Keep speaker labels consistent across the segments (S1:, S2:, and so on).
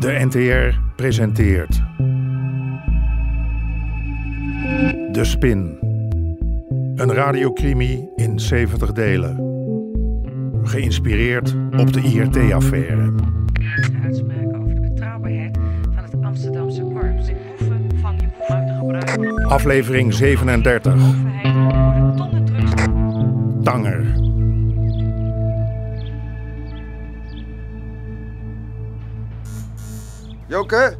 S1: De NTR presenteert. De Spin. Een radiocrimi in 70 delen. Geïnspireerd op de IRT-affaire.
S2: graag uitspraken over de betrouwbaarheid van het Amsterdamse Dus korps. De boeven van je boeven uit te gebruiken.
S1: Aflevering 37.
S2: Overheid worden tonnen drugs.
S1: Tanger.
S3: Joke?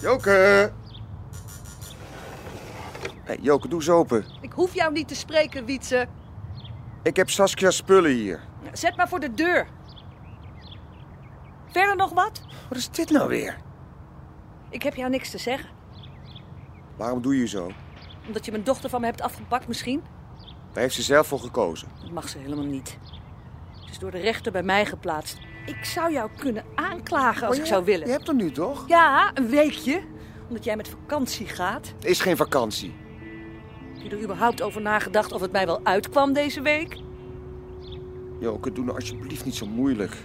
S3: Joke? Hey, Joke, doe eens open.
S4: Ik hoef jou niet te spreken, Wietse.
S3: Ik heb Saskia's spullen hier.
S4: Zet maar voor de deur. Verder nog wat?
S3: Wat is dit nou weer?
S4: Ik heb jou niks te zeggen.
S3: Waarom doe je zo?
S4: Omdat je mijn dochter van me hebt afgepakt misschien.
S3: Daar heeft ze zelf voor gekozen.
S4: Dat mag ze helemaal niet. Ze is door de rechter bij mij geplaatst. Ik zou jou kunnen aanklagen als ik zou willen.
S3: Je hebt hem nu toch?
S4: Ja, een weekje. Omdat jij met vakantie gaat.
S3: Het is geen vakantie.
S4: Heb je er überhaupt over nagedacht of het mij wel uitkwam deze week?
S3: Joke, doe nou alsjeblieft niet zo moeilijk.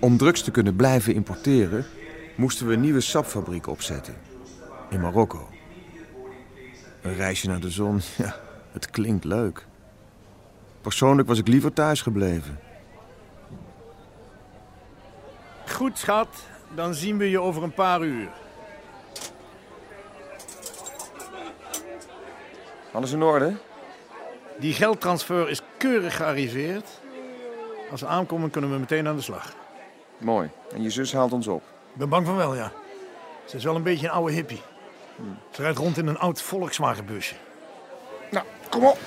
S3: Om drugs te kunnen blijven importeren, moesten we een nieuwe sapfabriek opzetten. In Marokko. Een reisje naar de zon, ja, het klinkt leuk. Persoonlijk was ik liever thuis gebleven.
S5: Goed, schat. Dan zien we je over een paar uur.
S3: Alles in orde?
S5: Die geldtransfer is keurig gearriveerd. Als we aankomen, kunnen we meteen aan de slag.
S3: Mooi. En je zus haalt ons op.
S5: Ik ben bang van wel, ja. Ze is wel een beetje een oude hippie. Ze rijdt rond in een oud Volkswagenbusje.
S3: Nou, kom op.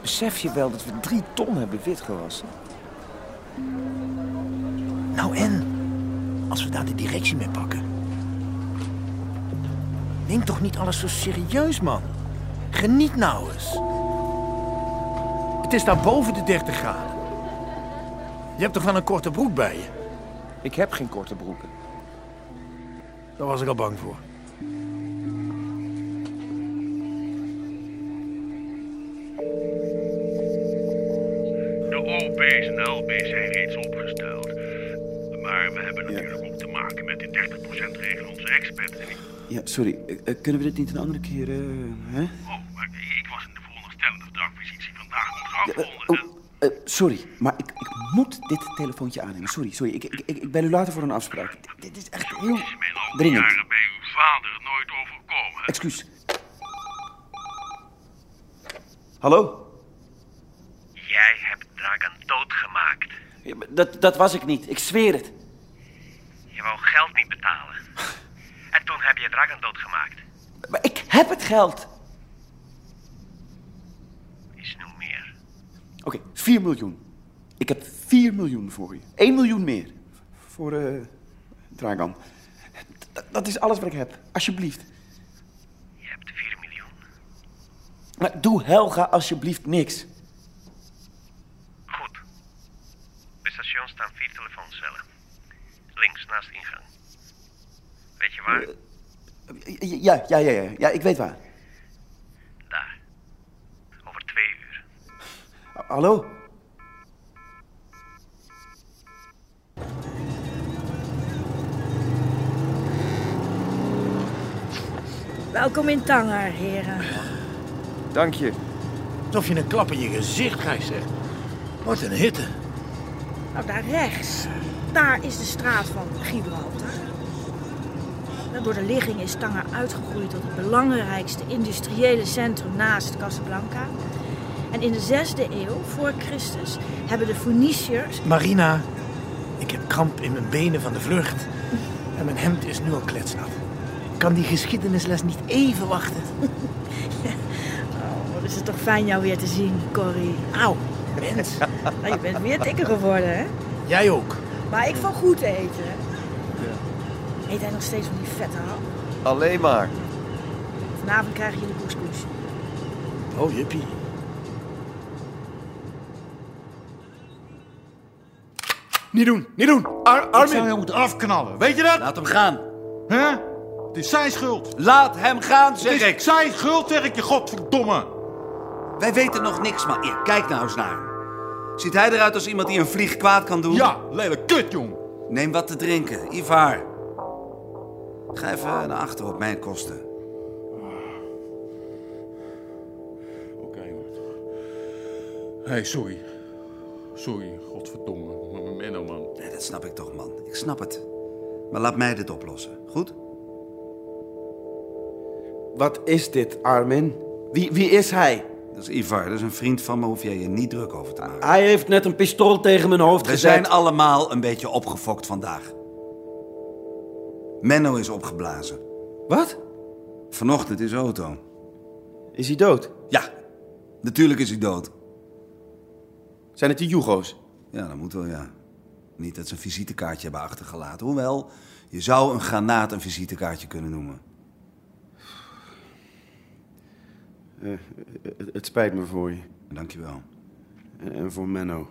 S3: Besef je wel dat we drie ton hebben witgewassen?
S5: Nou en? Als we daar de directie mee pakken. Neem toch niet alles zo serieus, man. Geniet nou eens. Het is daar boven de 30 graden. Je hebt toch wel een korte broek bij je?
S3: Ik heb geen korte broeken.
S5: Daar was ik al bang voor.
S6: De OP's en LP's zijn reeds opgesteld. Maar we hebben natuurlijk ook te maken met die 30% regel van onze experts.
S7: Ja, sorry. Eh, eh, kunnen we dit niet een andere keer... eh, hè?
S6: Oh, maar ik was in de veronderstelling dat de acquisitie vandaag moet afronden.
S7: Oh, eh, sorry, maar ik, ik moet dit telefoontje aannemen. Sorry, sorry. Ik, ik, ik ik bel u later voor een afspraak. D- dit is echt heel
S6: Het is mij al die
S7: dringend.
S6: jaren bij uw vader nooit overkomen.
S7: Excuus. Hallo?
S6: Jij hebt Dragan doodgemaakt.
S7: Ja, maar dat, dat was ik niet. Ik zweer het.
S6: Je wou geld niet betalen. En toen heb je Dragan doodgemaakt.
S7: Maar ik heb het geld.
S6: Is nu meer.
S7: Oké, 4 miljoen. Ik heb 4 miljoen voor je. 1 miljoen meer. Voor eh Dragan. D- dat is alles wat ik heb. Alsjeblieft.
S6: Je hebt 4 miljoen.
S7: Maar doe Helga alsjeblieft niks.
S6: Goed. Bij het station staan vier telefooncellen. Links naast de ingang. Weet je waar?
S7: Eh. Ja, ja, ja, ja. ja ik weet waar.
S6: Daar. Over twee uur.
S7: Hallo?
S8: Welkom in Tanger, heren.
S3: Dank je.
S5: Alsof je een klap in je gezicht krijgt, zeg. Wat een hitte.
S8: Nou, daar rechts, daar is de straat van Gibraltar. Nou, Door de ligging is Tanger uitgegroeid tot het belangrijkste industriële centrum naast Casablanca. En in de 6e eeuw voor Christus hebben de Phoeniciërs.
S5: Marina, ik heb kramp in mijn benen van de vlucht. En mijn hemd is nu al kletsnat. Kan die geschiedenisles niet even wachten?
S8: Oh, wat is het toch fijn jou weer te zien, Corrie. Auw,
S5: Mens,
S8: nou, je bent weer dikker geworden, hè?
S5: jij ook.
S8: Maar ik van goed eten. Eet hij nog steeds van die vette hap?
S3: Alleen maar.
S8: Vanavond krijgen jullie couscous.
S5: Oh, jippie.
S7: Niet doen, niet doen. Ar
S9: Ik zou
S7: Armin.
S9: jou moeten afknallen, weet je dat?
S10: Laat hem gaan.
S9: Hè? Het is zijn schuld.
S10: Laat hem gaan,
S9: Het
S10: zeg
S9: is
S10: ik.
S9: zijn schuld, zeg ik je, godverdomme.
S10: Wij weten nog niks, maar hier, kijk nou eens naar hem. Ziet hij eruit als iemand die een vlieg kwaad kan doen?
S9: Ja, lelijk kut, jong.
S10: Neem wat te drinken, Ivar. Ga even naar achter op mijn kosten.
S9: Oké, Hé, hey, sorry. Sorry, godverdomme. Menno, man.
S10: Nee, dat snap ik toch, man. Ik snap het. Maar laat mij dit oplossen, goed?
S7: Wat is dit, Armin? Wie, wie is hij?
S10: Dat is Ivar, dat is een vriend van me, hoef jij je niet druk over te maken.
S11: Hij heeft net een pistool tegen mijn hoofd
S10: We
S11: gezet.
S10: zijn allemaal een beetje opgefokt vandaag. Menno is opgeblazen.
S11: Wat?
S10: Vanochtend is auto.
S7: Is hij dood?
S10: Ja, natuurlijk is hij dood.
S7: Zijn het de Jugo's?
S10: Ja, dat moet wel, ja. Niet dat ze een visitekaartje hebben achtergelaten. Hoewel, je zou een granaat een visitekaartje kunnen noemen.
S7: Het, het spijt me voor je
S10: Dankjewel.
S7: en, eh, en voor Menno.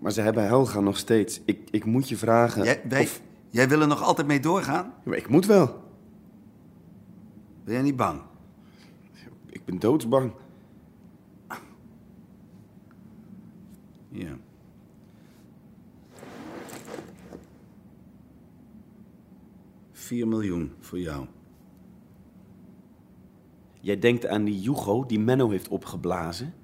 S7: Maar ze hebben Helga nog steeds. Ik, ik moet je vragen.
S10: Jij, wij-
S7: of-
S10: jij wil er nog altijd mee doorgaan?
S7: Ja, maar ik moet wel.
S10: Ben jij niet bang?
S7: Ik ben doodsbang.
S10: Ja. Vier miljoen voor jou.
S7: Jij denkt aan die Jugo die Menno heeft opgeblazen.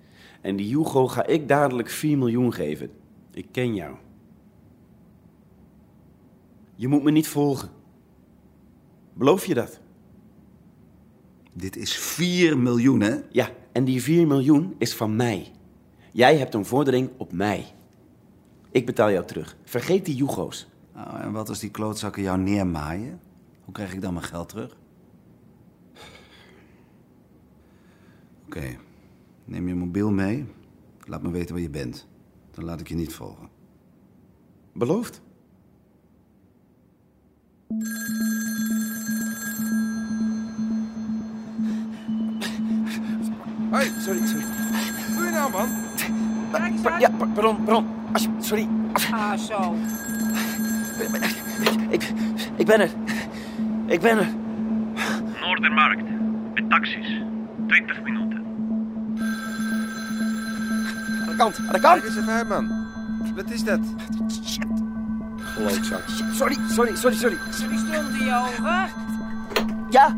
S7: En die Jugo ga ik dadelijk 4 miljoen geven. Ik ken jou. Je moet me niet volgen. Beloof je dat?
S10: Dit is 4 miljoen, hè?
S7: Ja, en die 4 miljoen is van mij. Jij hebt een vordering op mij. Ik betaal jou terug. Vergeet die Jugo's.
S10: Nou, en wat als die klootzakken jou neermaaien? Hoe krijg ik dan mijn geld terug? Oké, neem je mobiel mee. Laat me weten waar je bent. Dan laat ik je niet volgen.
S7: Beloofd?
S3: Hoi,
S7: Sorry, sorry.
S3: wat doe je nou, man?
S7: Ja, pa- pardon, pardon. Alsje- Sorry,
S8: Ah, zo.
S7: ik, ik ben er. Ik ben er.
S6: Noordermarkt, met taxis. 20 minuten.
S7: Aan de kant, aan de kant.
S3: Kijk eens even uit, man. Wat is dat?
S7: Klootzak. Sorry, sorry, sorry, sorry.
S8: Wie stond die over?
S7: Ja,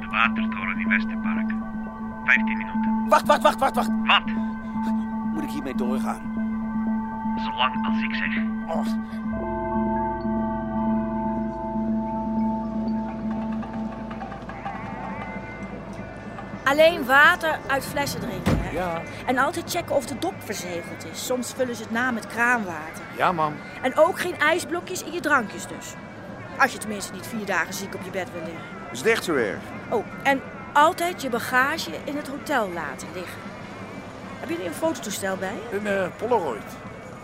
S6: De watertoren in Westerpark. 15 minuten.
S7: wacht, wacht, wacht, wacht, wacht.
S6: Wat?
S7: Moet ik hiermee doorgaan?
S6: Zolang als ik zeg.
S7: Oh.
S8: Alleen water uit flessen drinken, hè? En altijd checken of de dop verzegeld is. Soms vullen ze het na met kraanwater.
S5: Ja, mam.
S8: En ook geen ijsblokjes in je drankjes dus. Als je tenminste niet vier dagen ziek op je bed wil liggen.
S3: Is het echt zo erg?
S8: Oh, en altijd je bagage in het hotel laten liggen. Hebben jullie een fototoestel bij je?
S5: Een eh, Polaroid.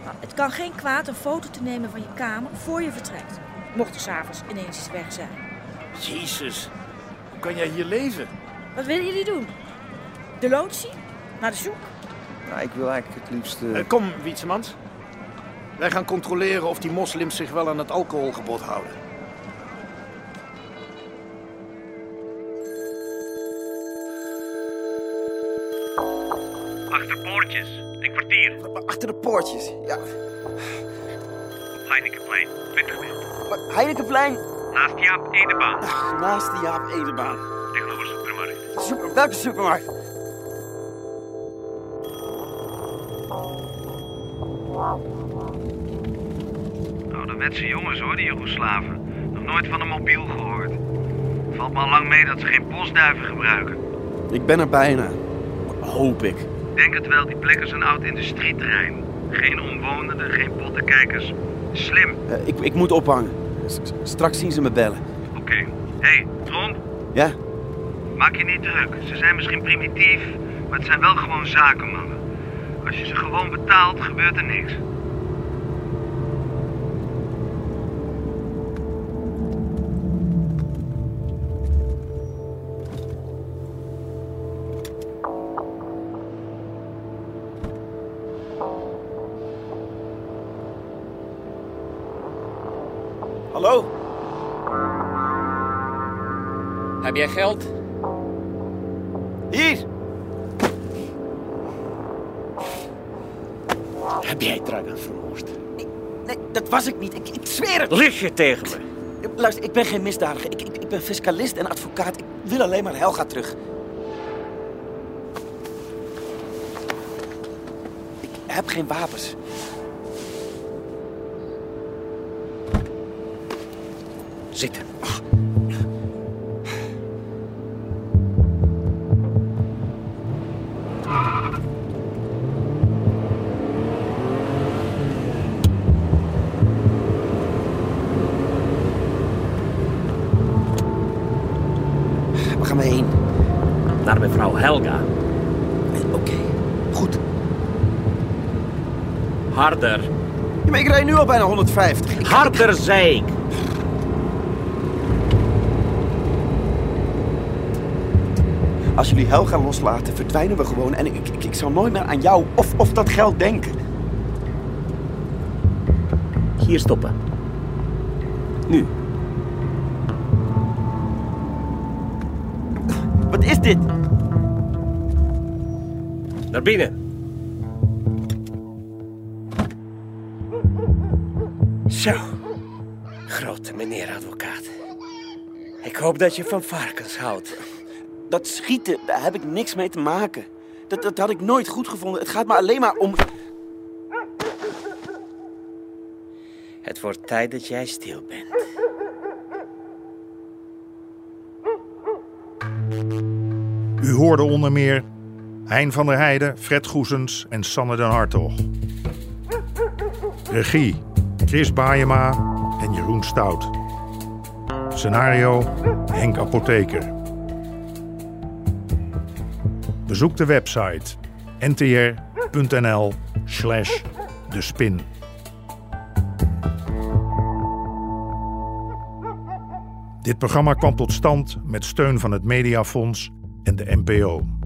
S8: Nou, het kan geen kwaad een foto te nemen van je kamer voor je vertrekt. Mocht er s'avonds ineens iets weg zijn.
S5: Jezus. Hoe kan jij hier leven?
S8: Wat willen jullie doen? De loods zien? Naar de zoek?
S3: Nou, ik wil eigenlijk het liefst... eh,
S5: Eh, kom, Wietsemans. Wij gaan controleren of die moslims zich wel aan het alcoholgebod houden.
S6: Achter poortjes, een kwartier.
S7: Achter de poortjes. Ja,
S6: Heinekenplein, 20 minuten.
S7: maar Heinekenplein
S6: Naast Jaap Edebaan,
S7: naast de Jaap Edebaan.
S6: tegenover Supermarkt.
S7: Super, welke supermarkt?
S6: Ouderwetse jongens hoor, die Joegoslaven. Nog nooit van een mobiel gehoord. Valt me al lang mee dat ze geen postduiven gebruiken.
S7: Ik ben er bijna. Hoop ik.
S6: Denk het wel, die plekken zijn oud industrieterrein. Geen omwonenden, geen pottenkijkers. Slim,
S7: Eh, ik, ik moet ophangen. S- s- Straks zien ze me bellen.
S6: oké. Hé, hey, Tromp,
S7: Ja?
S6: maak je niet druk. Ze zijn misschien primitief, maar het zijn wel gewoon zakenmannen. Als je ze gewoon betaalt, gebeurt er niks.
S5: Heb jij geld?
S12: Hier! Heb jij Dragan vermoord?
S7: Nee, dat was ik niet. Ik, ik zweer het.
S5: Lieg je tegen me?
S7: Luister, ik ben geen misdadiger. Ik, ik, ik ben fiscalist en advocaat. Ik wil alleen maar Helga terug. Ik heb geen wapens.
S5: Zitten.
S7: Waar gaan we heen?
S5: Naar mevrouw Helga.
S7: Oké, goed.
S5: Harder.
S7: Ja, maar ik rijd nu al bijna 150.
S5: Harder, zei ik.
S12: Als jullie Helga loslaten, verdwijnen we gewoon. En ik, ik, ik zal nooit meer aan jou of, of dat geld denken.
S5: Hier stoppen.
S7: Nu. Wat is dit?
S5: Naar binnen. Zo. Grote meneer advocaat.
S7: Ik hoop dat je van varkens houdt. Dat schieten, daar heb ik niks mee te maken. Dat, dat had ik nooit goed gevonden. Het gaat me alleen maar om...
S5: Het wordt tijd dat jij stil bent.
S1: U hoorde onder meer Hein van der Heijden, Fred Goesens en Sanne den Hartog. Regie Chris Baayema en Jeroen Stout. Scenario Henk Apotheker. Bezoek de website ntr.nl slash de spin. Dit programma kwam tot stand met steun van het Mediafonds en de NPO.